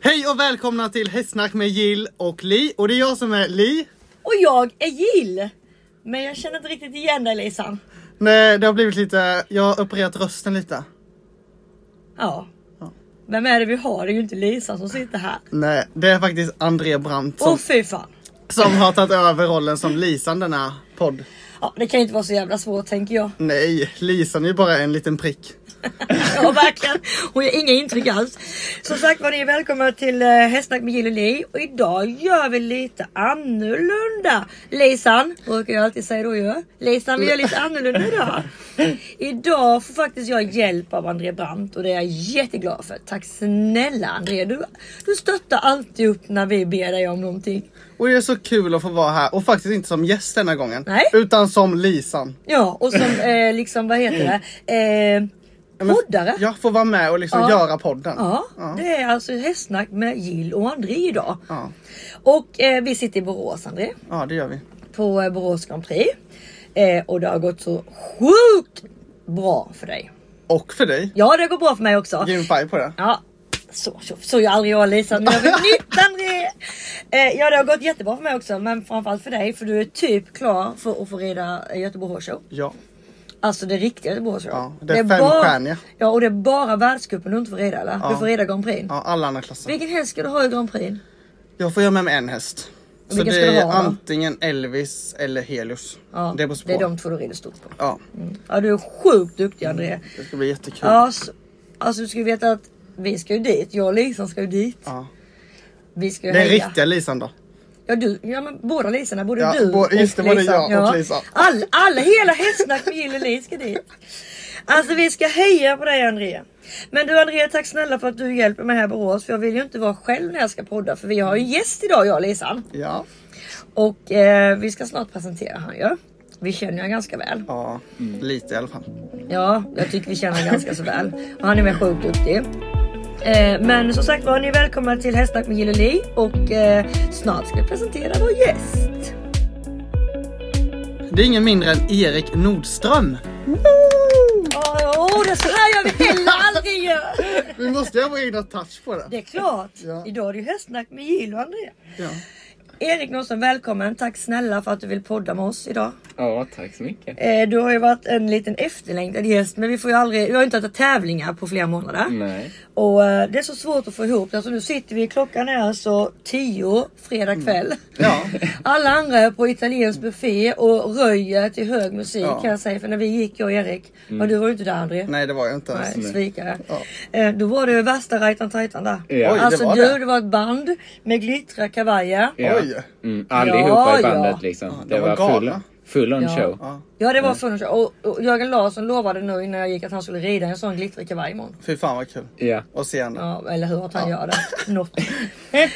Hej och välkomna till Hästsnack med Jill och Li. Och det är jag som är Li. Och jag är Jill. Men jag känner inte riktigt igen dig Lisan. Nej, det har blivit lite, jag har opererat rösten lite. Ja. Ja. Vem är det vi har? Det är ju inte Lisan som sitter här. Nej, det är faktiskt André Brandt Åh som, fy fan. som har tagit över rollen som Lisan denna podd. Ja, det kan ju inte vara så jävla svårt tänker jag. Nej, Lisan är ju bara en liten prick. Ja verkligen. Hon gör inga intryck alls. Som sagt var ni är välkomna till eh, Hästsnack med Jill och Li. Och idag gör vi lite annorlunda. Lisan, brukar jag alltid säga då ju. Lisan vi gör lite annorlunda idag. Idag får faktiskt jag hjälp av André Brandt och det är jag jätteglad för. Tack snälla André. Du, du stöttar alltid upp när vi ber dig om någonting. Och det är så kul att få vara här och faktiskt inte som gäst denna gången. Nej. Utan som Lisan. Ja och som eh, liksom vad heter det? Eh, poddare. Jag får vara med och liksom Ja. göra podden. Ja, det är alltså hästsnack med Jill och André idag. Ja. Och eh, vi sitter i Borås André, ja, det gör vi. på eh, Borås Grand Prix. Eh, och det har gått så sjukt bra för dig. Och för dig. Ja, det går bra för mig också. Ge en färg på det. Ja, så, så, så gör aldrig jag Lisa. Nu gör vi nytt André! Eh, ja, det har gått jättebra för mig också, men framförallt för dig för du är typ klar för att få reda eh, Göteborg Horse Show. Ja. Alltså det riktiga Göteborg Horse Show. Ja, det är femstjärniga. Ja, och det är bara världscupen du inte får reda eller? Du får reda Grand Prix. ja, alla andra klasser. Vilken häst ska du ha i Grand Prix? Jag får göra med mig en häst. Så Vilken det ska du är ha då? antingen Elvis eller Helios. Ja, det är på spår. de två du rider stort på. Ja, Ja, du är sjukt duktig André. det ska bli jättekul. Ja, så, alltså du ska ju veta att vi ska ju dit. Jag och Lisan ska ju dit. Ja. Vi ska ju Den heja. riktiga Lisan då. Ja, du, ja men båda Lisorna, både Ja, du bo- just det, både jag och Ja. Lisan. All, alla, hela hästsnack med Jill och Lis ska dit. Alltså vi ska heja på dig André. Men du André, tack snälla för att du hjälper mig här i Borås. För jag vill ju inte vara själv när jag ska podda. För vi har ju gäst idag jag och Lisan. Ja. Och eh, vi ska snart presentera han ju. Vi känner ju han ganska väl. ja, lite i alla fall. Ja, jag tycker vi känner honom ganska så väl. Och han är med sjukt duktig. Eh, men som sagt var, ni är välkomna till Hästsnack med Jill och Li. Och eh, snart ska vi presentera vår gäst. Det är ingen mindre än Erik Nordström. Åh, åh, det så här gör vi heller aldrig ju. Vi måste göra vår egna touch på det. Det är klart. Ja. Idag är det ju Hästsnack med Jill och André. Ja. Erik Nordström, välkommen. Tack snälla för att du vill podda med oss idag. Ja, tack så mycket. Eh, du har ju varit en liten efterlängtad gäst, men vi får ju aldrig... Vi har ju inte haft tävlingar på flera månader. Nej. Och eh, det är så svårt att få ihop det. Alltså, nu sitter vi, klockan är alltså 10 fredag Mm. kväll. Ja. Alla andra är på italiensk buffé och röjer till hög musik Ja. Mm. kan jag säga. För när vi gick, jag och Erik, och du var ju inte där André. Nej det var jag inte ens. Nej, svikare. Ja. Eh, Då var det ju värsta rajtan tajtan där. Ja. Oj, det alltså var du, det. det var ett band med glittriga kavajer. Ja. Oj. Mm, allihopa Ja, i bandet ja. liksom. det det, var var, full, galna. full on Ja. show. Ja. Ja det var full show. Och, och Jörgen Larsson lovade nu innan jag gick att han skulle rida en sån glittrig kavaj imorgon. Fy fan vad kul. Ja. Och se henne. Ja eller hur att han gör det. Något.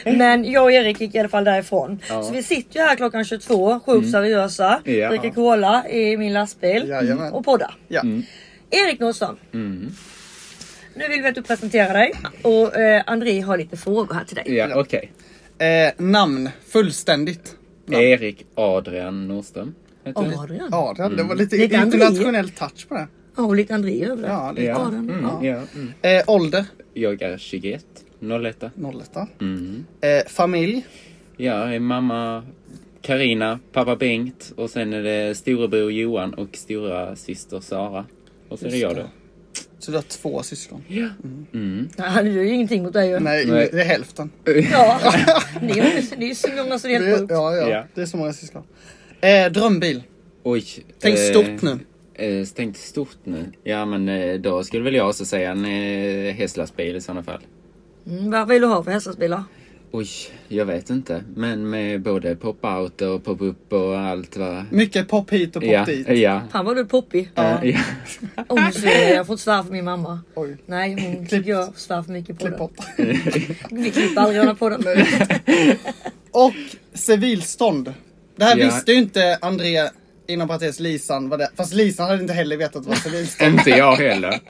Men jag och Erik gick i alla fall därifrån. Ja. Så vi sitter ju här klockan 22, sjukt seriösa. Ja. Dricker cola i min lastbil. Jajamän. Och poddar. Ja. Mm. Erik Nordström. Nu vill vi att du presenterar dig. Och eh, André har lite frågor här till dig. Ja, okej. Eh, namn fullständigt. Erik Adrian Nordström. heter jag. Adrian. Ja det, det var lite Lite André. internationell touch på det. Ja, och lite André över det. Ja, lite. Ja. Adrian. Mm, Ja. ja. Mm. Eh, ålder? Jag är 21, 01. 01. Mm. Eh, familj? Ja, jag är mamma Karina, pappa Bengt och sen är det storebror Johan och stora syster Sara. Och så är det jag då. Så du har två syskon? Ja. Mm. Nej, det gör ju ingenting mot dig ju. Nej, Nej. det är hälften. Ja, det är ju- det är ju så många så det är helt Det, sjukt. ja, ja, Ja. det är så många syskon. Eh, drömbil. Oj. Tänk eh, stort nu. Eh, tänk stort nu. Ja, men eh, då skulle väl jag också säga en eh, hästlastbil i sådana fall. Mm, vad vill du ha för hästbilar? Oj, jag vet inte. Men med både pop-out och pop-up och allt va? Mycket pop hit och pop ja, dit. ja. Fan vad du är poppig. Ja. ja. Om du ser, jag får inte svära för min mamma. Oj. Nej, hon tycker jag svär för mycket på Klipp det. pop. Vi klipper aldrig gärna på den. och civilstånd. Det här Ja. visste ju inte André inom parentes Lisan vad det Fast Lisan hade inte heller vetat vad civilstånd Inte jag heller.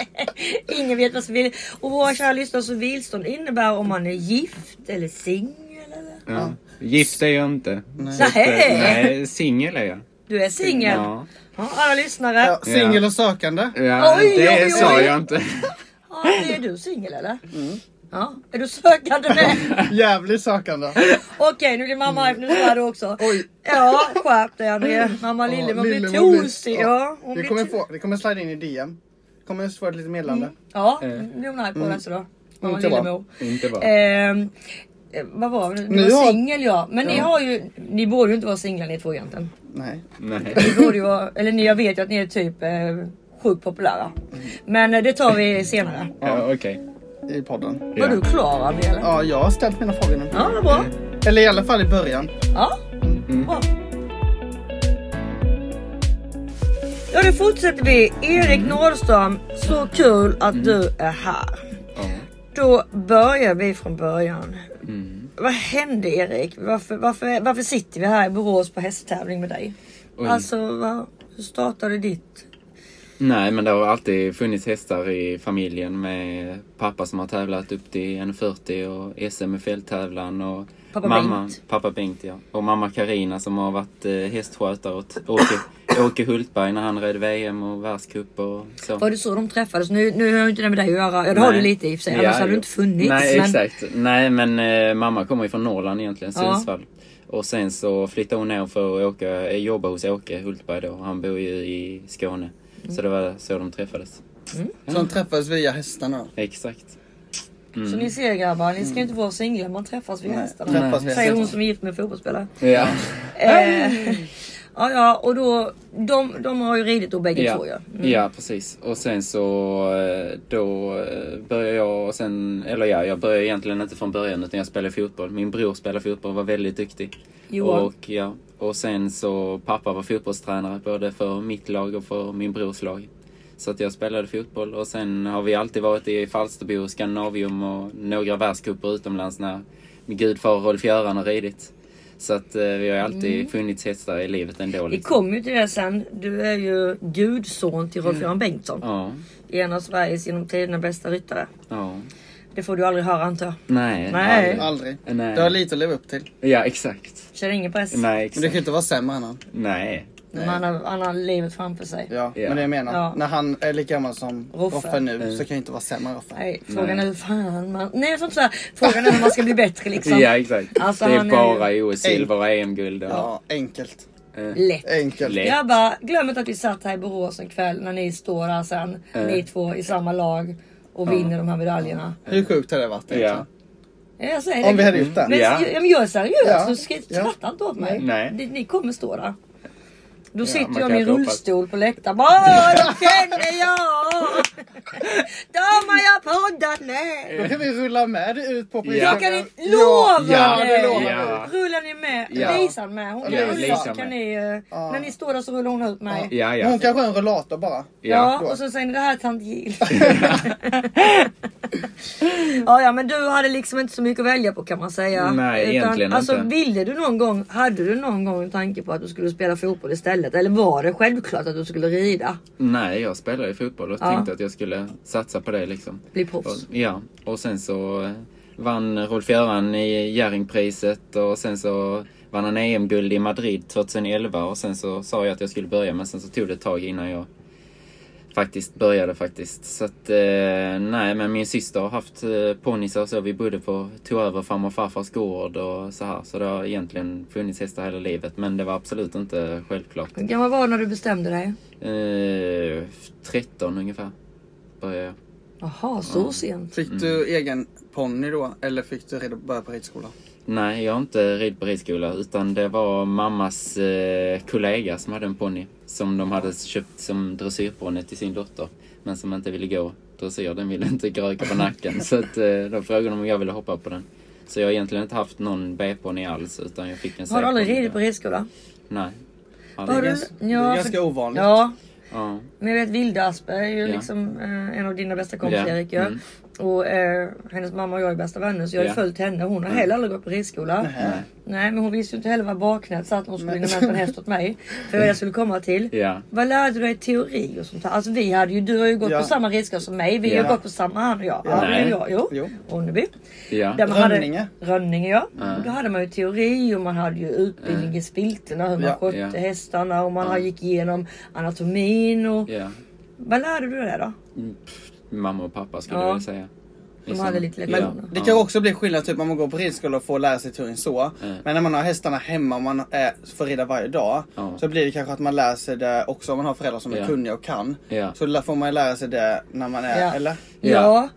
Ingen vet vad civil... Och våra kära lyssnare, civilstånd innebär om man är gift eller singel eller? Ja. Gift är jag inte. Nej. Mm. Nej, Nej, singel är jag. du är singel. Ja. Ja. alla lyssnare. ja, Ja, Singel och sökande. Ja, Oj, det oj, sa oj. jag inte. Mm. är du singel eller? Ja, är du sökande med? Jävligt sökande. Okej, nu blir mamma arg för nu svär du också. Ja, skärp dig André. Mamma Lille, man blir tosig. Ja, hon det, blir kommer to- Mm. få, det kommer slida in i DM. Det kommer få ett litet meddelande. Ja, nu blir hon arg på den så då. Mamma Inte bra. Lillemor. Inte bra. Ehm, eh, vad var det? Ni Ni var har- singel ja. Men ni har ju, ni borde ju inte vara singlar ni två egentligen. Nej. Nej. Ni borde ju vara, eller ni, jag vet ju att ni är typ eh, sjukt populära. Men eh, det tar vi senare. Ja, okej. I podden. Var Ja. du klar André eller? Ja, jag har ställt mina frågor nu. Ja, vad bra. Eller i alla fall i början. Ja, bra. Ja, nu fortsätter vi. Erik Nordström, så kul att du är här. Ja. Då börjar vi från början. Mm. Vad hände Erik? Varför, varför, varför sitter vi här i Borås på hästtävling med dig? Oj. Alltså, vad, hur startade ditt? Nej, men det har alltid funnits hästar i familjen med pappa som har tävlat upp till 1,40 och SM i fälttävlan och Pappa mamma, Bengt. pappa Bengt ja. och mamma Karina som har varit eh, hästskötare åt Åke, Åke Hultberg när han red VM och världscup och så. Var det så de träffades? Nu, nu har jag inte det med dig att göra. Ja, det har Nej. du lite i och för sig. Annars hade du jo. inte funnits. Nej, men- exakt. Nej, men eh, mamma kommer ju från Norrland egentligen, Ja. Sundsvall. Och sen så flyttade hon ner för att åka, eh, jobba hos Åke Hultberg då. Han bor ju i Skåne. Mm. Så det var så de träffades. Så Mm. de träffades via hästarna. Exakt. Mm. Så ni ser grabbar, ni ska inte vara singlar. Man träffas vid hästarna. Träffas via Säger hon hästarna. som är gift med en fotbollsspelare. Ja. Eh, ja, ja, och då, de, de har ju ridit då bägge två ju. Ja, ja, precis. Och sen så eh, då eh, började jag, och sen, eller ja, jag började egentligen inte från början utan jag spelade fotboll. Min bror spelade fotboll och var väldigt duktig. Johan. Och, ja, och sen så pappa var fotbollstränare både för mitt lag och för min brors lag. Så att jag spelade fotboll och sen har vi alltid varit i Falsterbo, Skandinavium och några världscuper utomlands när min gudfar Rolf-Göran har ridit. Så att eh, vi har ju alltid funnits hästar i livet ändå. Vi Liksom. kommer ju till Mm. det sen. Du är ju gudson till Mm. Rolf-Göran Bengtsson. Ja, En av Sveriges genom tiderna bästa ryttare. ja. Det får du aldrig höra antar jag. Nej, Nej. aldrig. Aldrig. Nej. Du har lite att leva upp till. Ja, exakt. Känner ingen press. Nej, Men du exakt. kan ju inte vara sämre än han. Nej. Men han, har, han har livet framför sig. Ja, Ja. men det jag menar. Ja. När han är lika gammal som Roffe. Roffe, nu Mm. så kan jag inte vara sämre än Roffe. Nej, frågan är hur fan man... Nej, jag får inte säga. Frågan är hur man ska bli bättre liksom. Ja, exakt. Alltså, det han är är- bara OS-silver och EM-guld. Och... Eh, Ja, enkelt. Lätt. Enkelt. Lätt. Grabbar, glöm inte att vi satt här i Borås en kväll när ni står där sen. Ni två i samma lag och vinner de här medaljerna. Hur sjukt hade det varit egentligen? Ja. Jag säger det. Om vi hade gjort det. Men, Ja. ja. men jag är seriös, Ja. så ska, Ja. skratta inte åt mig. Nej. Ni, ni kommer stå där. Då sitter man jag kan i min ropa. rullstol på läktaren. Åh, då känner jag! Då har jag poddat med! Då kan vi rulla med dig ut på Ja. Jag kan inte Ja, lova ja, det dig! lovar vi. Ja. Rullar ni med? Ja. Lisan med? Hon Ja, rullar Lisan så kan med. ni, eh, Ja. När ni står där så rullar hon ut mig. Ja. Ja, ja. Hon kanske är en rullator bara. Ja. och så säger ni det här är tant Jill. ja, ja, men du hade liksom inte så mycket att välja på kan man säga. Nej, egentligen alltså, inte. Ville du någon gång, hade du någon gång en tanke på att du skulle spela fotboll istället? Eller var det självklart att du skulle rida? Nej, jag spelade ju fotboll och Ja. tänkte att jag skulle satsa på det liksom. Bli proffs? Och, ja, och sen så eh, vann Rolf-Göran i Jerringpriset och sen så vann han EM-guld i Madrid 2011 och sen så sa jag att jag skulle börja men sen så tog det ett tag innan jag faktiskt började faktiskt. Så att, eh, nej men min syster har haft eh, ponnyer och så. Vi bodde på, tog över farmor och farfars gård och så här. Så det har egentligen funnits hästar hela livet men det var absolut inte självklart. Hur gammal var du när du bestämde dig? Eh, 13 ungefär började jag. Jaha, så sent? Fick du Mm. egen ponny då? Eller fick du redan börja på ridskola? Nej, jag har inte ridit på ridskola utan det var mammas eh, kollega som hade en ponny som de hade köpt som dressyrponny till sin dotter men som inte ville gå dressyr. Den ville inte gröka på nacken så att, eh, då frågade de om jag ville hoppa på den. Så jag har egentligen inte haft någon B-ponny alls utan jag fick en Har du aldrig C-ponny ridit på där. ridskola? Nej. Har Det du- är Aldrig. ganska, Ja, det för- är ganska ovanligt. Ja, Ja. men jag vet Vilde Asper är ju Ja. liksom eh, en av dina bästa kompisar Ja, Erik ju. mm. Och eh, hennes mamma och jag är bästa vänner så jag har ju Ja. Mm. följt henne. Hon har heller aldrig gått på ridskola. Nej. Nej men hon visste ju inte heller vad baknät satt när hon skulle hinna med på en häst åt mig. För vad jag skulle komma till. Ja. Vad lärde du dig i teori och sånt där? Alltså vi hade ju, du har ju gått Ja. på samma ridskola som mig. Vi Ja. har ju gått på samma han och jag. Ja. Nej. men jag jo. Jo. Ronneby. Där Ja. man hade- Rönninge. Rönninge ja. Och Då hade man ju teori och man hade ju utbildning i spilterna. Hur man Ja. skötte Ja. hästarna och man gick igenom anatomin och... ja. Vad lärde du dig då? Mamma och pappa skulle Ja. jag vilja säga. Liksom. De hade lite lektioner. Men det kan ju också bli skillnad typ om man går på ridskola och får lära sig turing så. Mm. Men när man har hästarna hemma och man är, får rida varje dag. Ja. Så blir det kanske att man lär sig det också om man har föräldrar som Ja. är kunniga och kan. Ja. Så lär- får man ju lära sig det när man är, Ja. eller? Ja. Ja.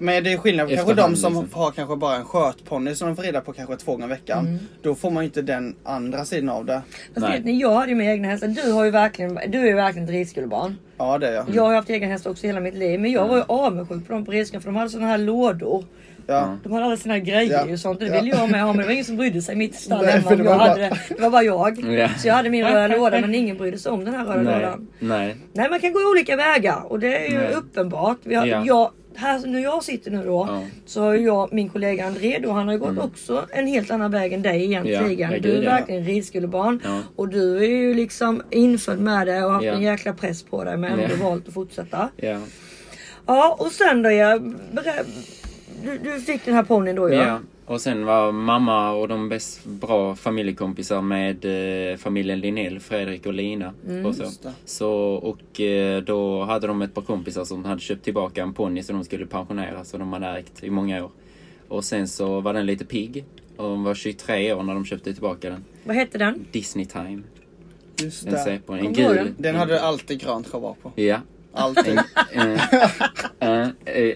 Men det är skillnad, kanske Efterhand, de som liksom. har kanske bara en skötponny som de får rida på kanske två gånger i veckan. Mm. Då får man ju inte den andra sidan av det. Fast Nej. vet ni, jag hade ju med egna hästar. Du har ju verkligen, du är ju verkligen ett ridskolebarn. Ja det är jag. Jag har ju haft egen häst också hela mitt liv. Men jag var ju Mm. avundsjuk på dem på ridskolan för de hade såna här lådor. Ja. De hade alla sina grejer Ja. och sånt. Det Ja. ville jag med ha men det var ingen som brydde sig i mitt stall Nej, hemma. för om det Jag var hade bara- det. det var bara jag. Ja. Så jag hade min röda låda men ingen brydde sig om den här röda Nej. lådan. Nej. Nej man kan gå olika vägar och det är ju Nej. uppenbart. Vi har, Ja. jag, här, nu jag sitter nu då Ja. Mm. så har ju jag min kollega André då han har ju gått också en helt annan väg än dig egentligen. Ja, ja, du är gud, ja. verkligen ridskolebarn Ja. och du är ju liksom infödd med det och haft Ja. en jäkla press på dig men ändå Ja. valt att fortsätta. Ja. Ja och sen då jag berä- du, du fick den här ponnyn då ja. Ja. Och sen var mamma och de bäst bra familjekompisar med eh, familjen Linnell, Fredrik och Lina. och Mm, Just så. det. Så, och eh, då hade de ett par kompisar som hade köpt tillbaka en ponny som de skulle pensionera, så de hade ägt i många år. Och sen så var den lite pigg. Och de var 23 år när de köpte tillbaka den. Vad hette den? Disney time. Just Den det. säpon. En Kommer du ihåg gul. Mm. Den hade du alltid grönt schabrak på. Ja. Alltid. Eh, eh,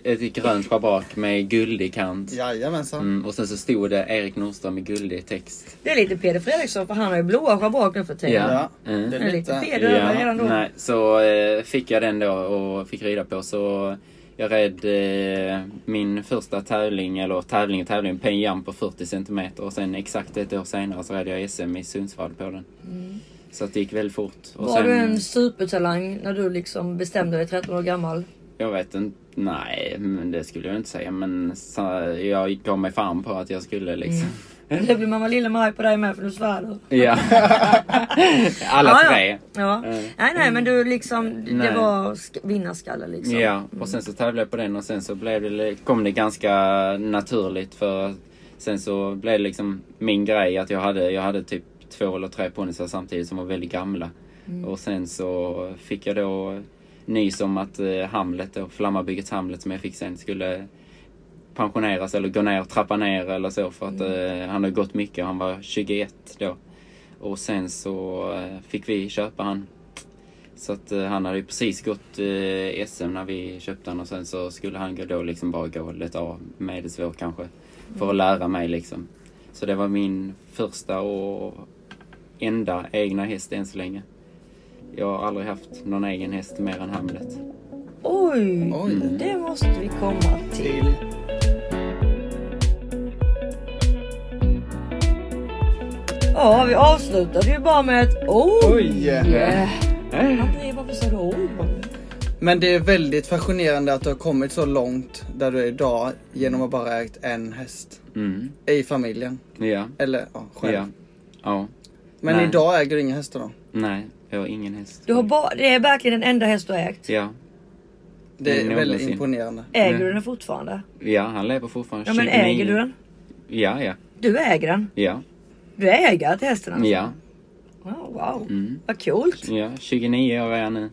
Ett grönt schabrak med guldig kant. Jajamensan. Mm, och sen så stod det Erik Nordström i guldig text. Det är lite Peder Fredriksson för han har ju blåa schabrak nu för tiden. Ja. Ja. Mm. Det Det är är lite lite... Peder över redan då. nej, så eh, fick jag den då och fick rida på. Så jag red eh, min första tävling, eller tävling och tävling, penjam på 40 centimeter Och sen exakt ett år senare så red jag SM i Sundsvall på den. Så att det gick väldigt fort. Och Mm. Var sen, du en supertalang när du liksom bestämde dig 13 år gammal? Jag vet inte. Nej, men det skulle jag inte säga. Men så, jag gav mig fan på att jag skulle liksom. Det blir mamma lilla Maj på dig med för du svär du. Ja. Alla Mm. ja. tre. Ja. Mm. Nej nej men du liksom, det Nej. var sk- vinnarskalle liksom. Ja, och sen så tävlade jag på den och sen så blev det, kom det ganska naturligt för att sen så blev det liksom min grej att jag hade, jag hade typ två eller tre ponnyer samtidigt som var väldigt gamla. Mm. Och sen så fick jag då nys om att eh, Hamlet, då, Flammabyggets Hamlet som jag fick sen skulle pensioneras eller gå ner, trappa ner eller så för att eh, han har gått mycket. Han var 21 då. Och sen så eh, fick vi köpa han. Så att eh, han hade ju precis gått eh, SM när vi köpte han och sen så skulle han gå då liksom bara gå lite av medelsvår kanske. För att lära mig liksom. Så det var min första och enda egna häst än så länge. Jag har aldrig haft någon egen häst mer än Hamlet. Oj, Oj. det måste vi komma till. Till. Ja vi avslutade ju bara med ett oj. Oj! Yeah. André varför sa du oj? Men det är väldigt fascinerande att du har kommit så långt där du är idag genom att bara ägt en häst. Mm. I familjen. Ja. Eller ja, själv. Ja. Ja. Men Nej. idag äger du inga hästar då? Nej, jag har ingen häst. Du har bara, det är verkligen den enda häst du har ägt. Ja. Det är Nej, väldigt någonsin. imponerande. Äger Mm. du den fortfarande? Ja, han lever fortfarande. Ja men 29. äger du den? Ja, ja. Du äger den. Ja. Du är ägare till hästen alltså? Ja. Wow, wow. Mm. vad coolt. Ja, 29 år är jag nu.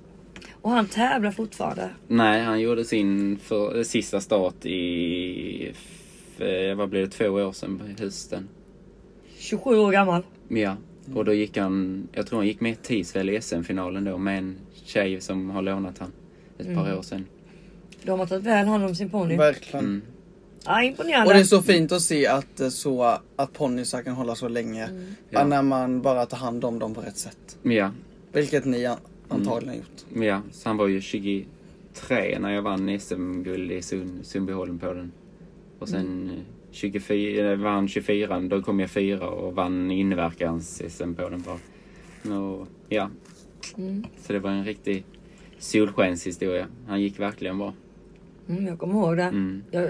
Och han tävlar fortfarande. Nej, han gjorde sin för, sista start i... f- eh, vad blir det? Två år sedan på hösten. 27 år gammal. Ja. Och då gick han... Jag tror han gick med i Tisväl i SM-finalen då med en tjej som har lånat han ett par år sedan. De har tagit väl hand om sin ponny. Verkligen. Mm. Ja, imponerande. Och det är så fint att se att, eh, så- att ponnysar kan hålla så länge. Mm. Ja. När man bara tar hand om dem på rätt sätt. Mm. Ja. Vilket ni an- Mm. antagligen har gjort. Ja. Så han var ju 23 när jag vann SM-guld i Sund, Sundbyholm på den. Och sen eh, 24, eh, vann 24, då kom jag fyra och vann inverkans-SM på den bara. Och, ja, mm. Så det var en riktig solskenshistoria. Han gick verkligen bra. Mm, jag kommer ihåg det. Mm. Jag,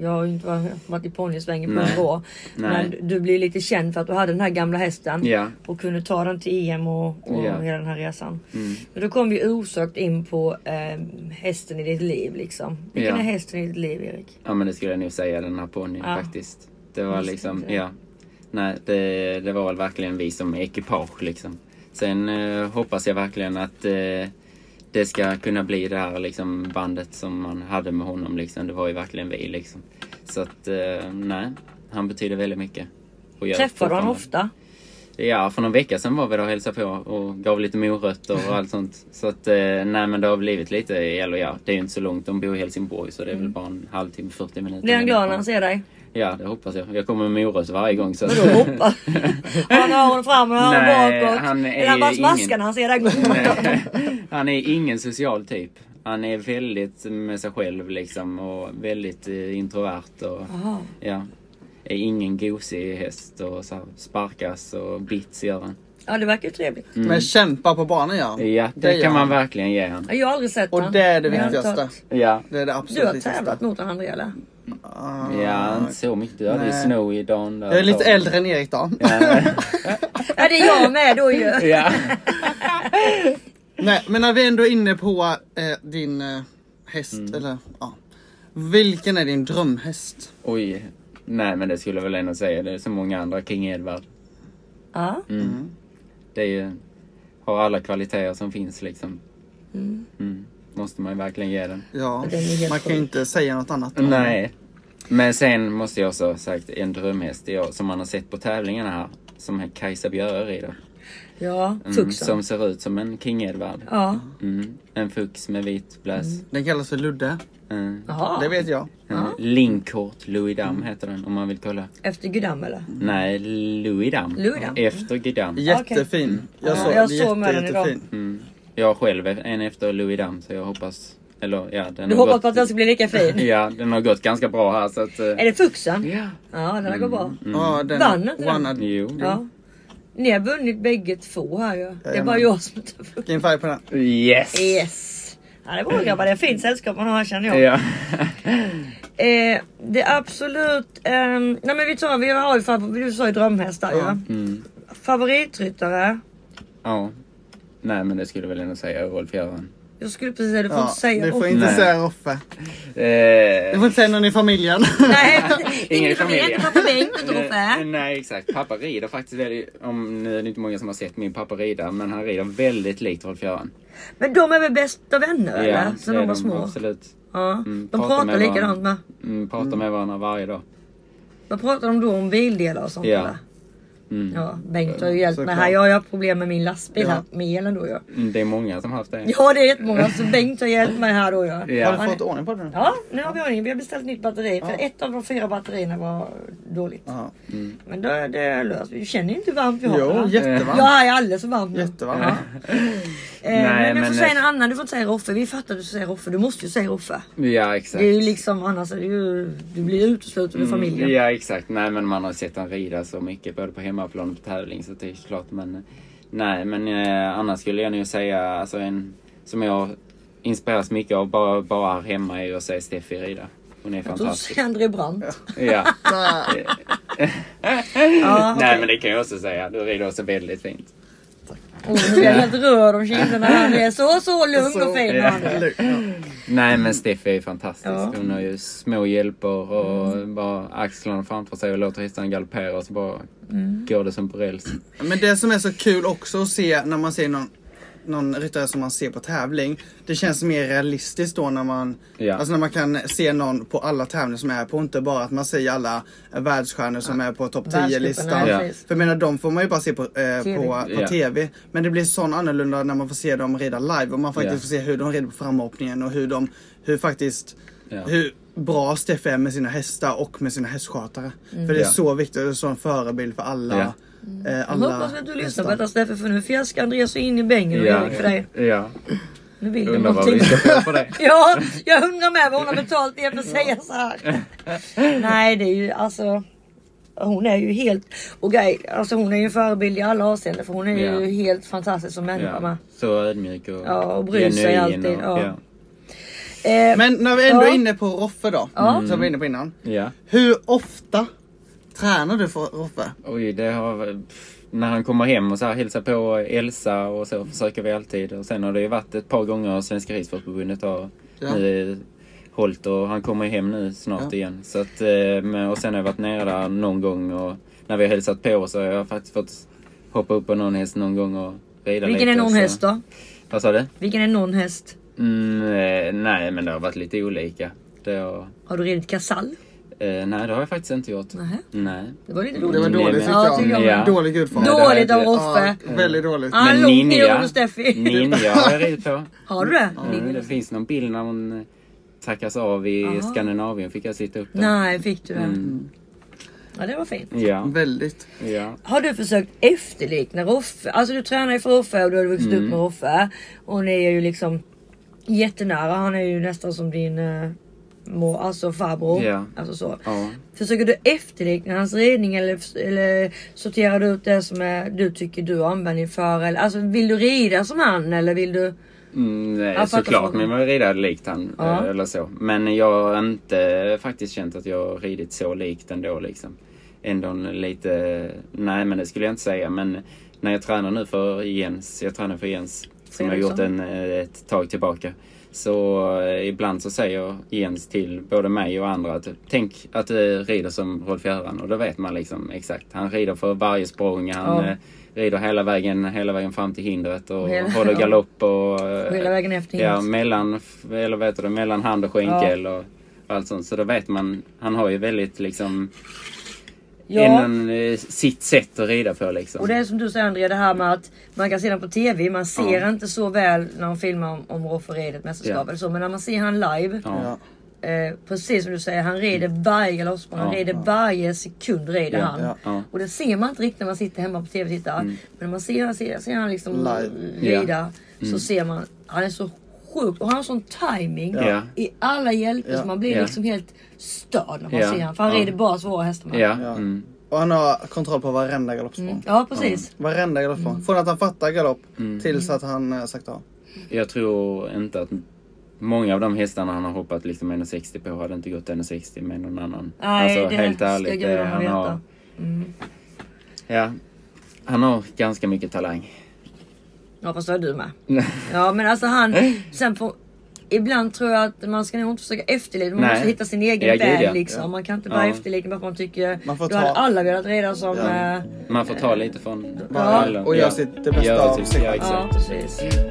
jag har ju inte varit- varit i ponnysvängen på Nej. några år. Nej. Men du blev lite känd för att du hade den här gamla hästen. Ja. Och kunde ta den till EM och, och Ja. hela den här resan. Mm. Men då kom vi osökt in på eh, hästen i ditt liv liksom. Vilken Ja. är hästen i ditt liv Erik? Ja men det skulle jag nog säga den här ponnyn Ja. faktiskt. Det var Visst liksom, inte. ja. Nej, det, det var väl verkligen vi som ekipage liksom. Sen eh, hoppas jag verkligen att eh, det ska kunna bli det här liksom, bandet som man hade med honom. Liksom. Det var ju verkligen vi. Liksom. Så att, eh, nej, han betyder väldigt mycket. Och gör Träffar du honom fortfarande. ofta? Ja, för någon vecka sedan var vi där och hälsade på och gav lite morötter och allt sånt. Så att, eh, nej men det har blivit lite, eller ja, det är ju inte så långt. De bor i Helsingborg så det är väl bara en halvtimme, 40 minuter. Mm. Blir han glad när han hemifrån. ser dig? Ja, det hoppas jag. Jag kommer med morötter varje gång. Så. Vadå hoppa? Han har honom fram och han har Nej, honom bakåt. han är Eller han bara ju smaskar ingen- när han ser dig. Nej, han är ingen social typ. Han är väldigt med sig själv liksom och väldigt eh, introvert och Jaha. ja. Är ingen gosig häst och så här, sparkas och bits gör han. Ja det verkar ju trevligt. Mm. Men kämpa på banan gör han. Ja, det, gör kan man han. verkligen ge han. Ja, Jag har aldrig sett Och han. det är det Men jag har viktigaste. tagit- Ja. Det är det Du absolut har viktigaste. tävlat mot honom André eller? Ah. Ja, inte så mycket. Du hade ju Nej. snow i dagen där. Jag är lite äldre än Erik då. Ja det är jag med då ju. Ja. Nej, men när vi ändå är inne på eh, din eh, häst, Mm. eller ja. Vilken är din drömhäst? Oj. Nej, men det skulle jag väl ändå säga. Det är så många andra. King Edward. Ja. Mm. Det är ju... Har alla kvaliteter som finns liksom. Mm. Måste man ju verkligen ge den. Ja, Den är helt man kan ju inte säga något annat. om den. Nej. Men sen måste jag också ha sagt en drömhäst det är jag, som man har sett på tävlingarna här. Som är Kajsa Björe då. Ja, Mm, Tuxen. som ser ut som en King Edward. Ja. Mm. En fux med vit bläs. Den kallas för Ludde. Mm. Jaha. Det vet jag. Mm. Linkkort Louis Damm heter den om man vill kolla. Efter Gudam eller? Nej, Louis Damm. Louis Damm. Efter Gudam. Jättefin. Jag Ja, såg jag den. såg med Jätte, den idag. jättefin. Mm. Jag själv är en efter Louis Damm så jag hoppas... Eller ja, den Du har hoppas gått... på att den ska bli lika fin? Ja, den har gått ganska bra här så att... eh, Är det Fuxen? Ja. Ja den här går bra. Mm. Ja, den Vann inte den? Wanna- Jo. Ja. Ni har vunnit bägge två här ju. Det är bara Jajamän. jag som inte har vunnit. Vilken färg på den. Yes! Yes! Ja det är bra grabbar, det är fint sällskap man har här känner jag. Ja. Eh, det är absolut... ehm, nej men vi tar, vi har ju favorit, du sa ju drömhästar ja. Mm. Favoritryttare? ja. Nej men det skulle jag väl ändå säga Rolf-Göran. Jag skulle precis säga, du får Ja, inte säga du får Rolf. inte Nej. säga Roffe. Du Eh, får inte säga någon i familjen. Nej, Ingen ingen i familj, familjen. inte pappa Bengt, inte eh, Roffe. Nej exakt. Pappa rider faktiskt väldigt... Om, nu är det inte många som har sett min pappa rida men han rider väldigt likt Rolf-Göran. Men de är väl bästa vänner eller? Sen det de är var små. Absolut. Ja. Mm, De pratar med likadant varandra. med. Mm, pratar med varandra varje dag. Vad pratar de då om bildelar och sånt Ja. eller? Mm. Ja, Bengt har ju hjälpt mig Såklart. här. Jag har ju haft problem med min lastbil Ja. här med elen då ju. Mm, Det är många som har haft det. Ja det är jättemånga så Bengt har hjälpt mig här då ju. Ja. Har du fått ordning på den? Ja, nu har vi ordning. Vi har beställt nytt batteri. För ett av de fyra batterierna var dåligt. Ja. Men det, det är löst. Du känner ju inte hur varmt vi har Jo, va? jättevarmt. Jag är alldeles för varm. nu. Jättevarm. Ja. Eh, Nej, men du men- får säga något annat. Du får inte säga Roffe. Vi fattar att du säger Roffe. Du måste ju säga Roffe. Ja, Det är exakt. Mm, ju liksom annars är det ju, du blir utesluten ur familjen. Ja, exakt. Nej, men man har sett han rida så mycket både på hemmaplan och på tävling så det är klart. Men eh, nej, men eh, annars skulle jag nog säga alltså en som jag inspireras mycket av bara, bara här hemma är ju att se Steffi rida. Hon är Så fantastisk. säger André Brandt. Ja. Ja. Nej, men det kan jag också säga. Du rider också väldigt fint. Oh, nu är jag helt röd om kinderna. Han är så, så lugn och fin. Ja. han är. Nej, men Steffi är fantastisk. Ja. Mm. Hon har ju små hjälper och bara axlarna framför sig och låter hästen galoppera och så bara Mm. går det som på räls. Men det som är så kul också att se när man ser någon, någon ryttare som man ser på tävling. Det känns mer realistiskt då när man, Ja. alltså när man kan se någon på alla tävlingar som är på. Inte bara att man ser alla världsstjärnor som är på topp 10-listan. Världscupen, Ja. ja, precis. För jag menar de får man ju bara se på, eh, på, på Ja. TV. Men det blir sån annorlunda när man får se dem rida live och man faktiskt Ja. får se hur de rider på framhoppningen och hur de, hur faktiskt, Ja. hur bra Steffe är med sina hästar och med sina hästskötare. För det är Ja. så viktigt och en sån förebild för alla. Ja. Eh, Jag alla hoppas att du lyssnar hästar. på detta Steffe för nu fjäskar André så in i bängen och Erik för dig. ja. Nu vill du Undrar vad någonting. vi ska få för det. Ja, jag undrar med vad hon har betalt er för att säga så här. Nej, det är ju alltså. Hon är ju helt... Och grej, alltså hon är ju en förebild i alla avseenden för hon är Ja. ju helt fantastisk som människa med. Ja. Så ödmjuk och, Ja, och bryr sig genuin alltid, ja. Eh, Men när vi ändå Ja. är inne på Roffe då, som vi var inne på innan. ja. Hur ofta tränar du för Roffe? Oj, det har... Pff, när han kommer hem och så här hälsar på Elsa och så försöker vi alltid. Och sen har det ju varit ett par gånger Svenska Ridsportförbundet har Ja. nu hållit och han kommer ju hem nu snart Ja. igen. Så att, eh, men, och sen har jag varit nere där någon gång och när vi har hälsat på så har jag faktiskt fått hoppa upp på någon häst någon gång och rida vilken är lite. någon så. häst då? Vad sa du? Vilken är någon häst? Mm, eh, nej, men det har varit lite olika. Det har, Har du ridit kasall? eh, nej, det har jag faktiskt inte gjort. Nähä. Nej. Det var lite Det roligt. var dåligt Nej, men- tyckte Ja, jag. tycker jag med. Ja. Dåligt gjort från Nej, det mig. har jag Dåligt av inte. oss Ja, för. väldigt dåligt. Ah. Men Hallå, Nero ninja, och Steffi. ninja har jag ridit på. Har du det? Ja, det finns någon bild när hon eh, tackas av i Aha. Skandinavien. Fick jag sitta upp där? Nej, Mm. fick du det? Mm. Ja, det var fint. Ja, Väldigt. ja. Har du försökt efterlikna Roffe? Alltså du tränar ju för Roffe och du har vuxit Mm. upp med Roffe. Och ni är ju liksom jättenära. Han är ju nästan som din eh, mor, alltså farbror. Ja. Alltså så. ja. Försöker du efterlikna hans ridning eller, eller sorterar du ut det som är, du tycker du har användning för? Eller, alltså vill du rida som han eller vill du? Mm, nej, Jag fattar såklart, frågan. men jag rider likt han. Alltså Ja. eh, Eller så. Men jag har inte faktiskt känt att jag har ridit så likt ändå. Liksom. Ändå en lite... Nej, men det skulle jag inte säga. Men när jag tränar nu för Jens, jag tränar för Jens som jag har gjort Fredriksson. en, eh, ett tag tillbaka. Så eh, ibland så säger Jens till både mig och andra att tänk att du rider som Rolf Göran och då vet man liksom exakt. Han rider för varje språng, han Ja. eh, rider hela vägen, hela vägen fram till hindret och Hela- håller ja. galopp och eh, Och hela vägen efter Ja, hindret. mellan, f- eller vet du, det, mellan hand och skänkel och allt sånt. Så då vet man, han har ju väldigt liksom Ja. en, eh, sitt sätt att rida på liksom. Och det är som du säger Andrea, det här med att man kan se den på TV, man ser Ja. inte så väl när de filmar om, om Roffe rider ett mästerskap Ja. eller så. Men när man ser han live, Ja. eh, precis som du säger, han rider varje galoppsprång, han Mm. Ja. rider varje sekund rider Ja. han. Ja. Ja. Mm. Och det ser man inte riktigt när man sitter hemma på TV och tittar. Men när man ser, ser, ser han liksom Live. rida Mm. så ser man, han är så sjukt och han har sån timing Ja. i alla hjälper Ja. så man blir Ja. liksom helt störd när man Ja. ser han. För han Ja. rider bara svåra hästar. man. Ja. Ja. Mm. Och han har kontroll på varenda galoppsprång. ja precis. Varenda galoppsprång. Mm. Från att han fattar galopp tills att han eh, sagt av. Jag tror inte att många av de hästarna han har hoppat liksom 1,60 på hade inte gått 1,60 med någon annan. Nej, det helt ska ärligt. gudarna eh, han veta. har, ja, han har ganska mycket talang. Ja fast det har du med. Ja men alltså han, sen på, ibland tror jag att man ska nog inte försöka efterleva, man Nej. måste hitta sin egen Ja, gud, väg ja. liksom. Ja. Man kan inte bara Ja. efterlika bara för att man tycker, Man får då hade ta- alla velat rida som... Ja. eh, Man får ta lite från Ja. alla. Och göra sitt- det bästa Göra av sitt- sig Ja, själv. exakt. Ja precis.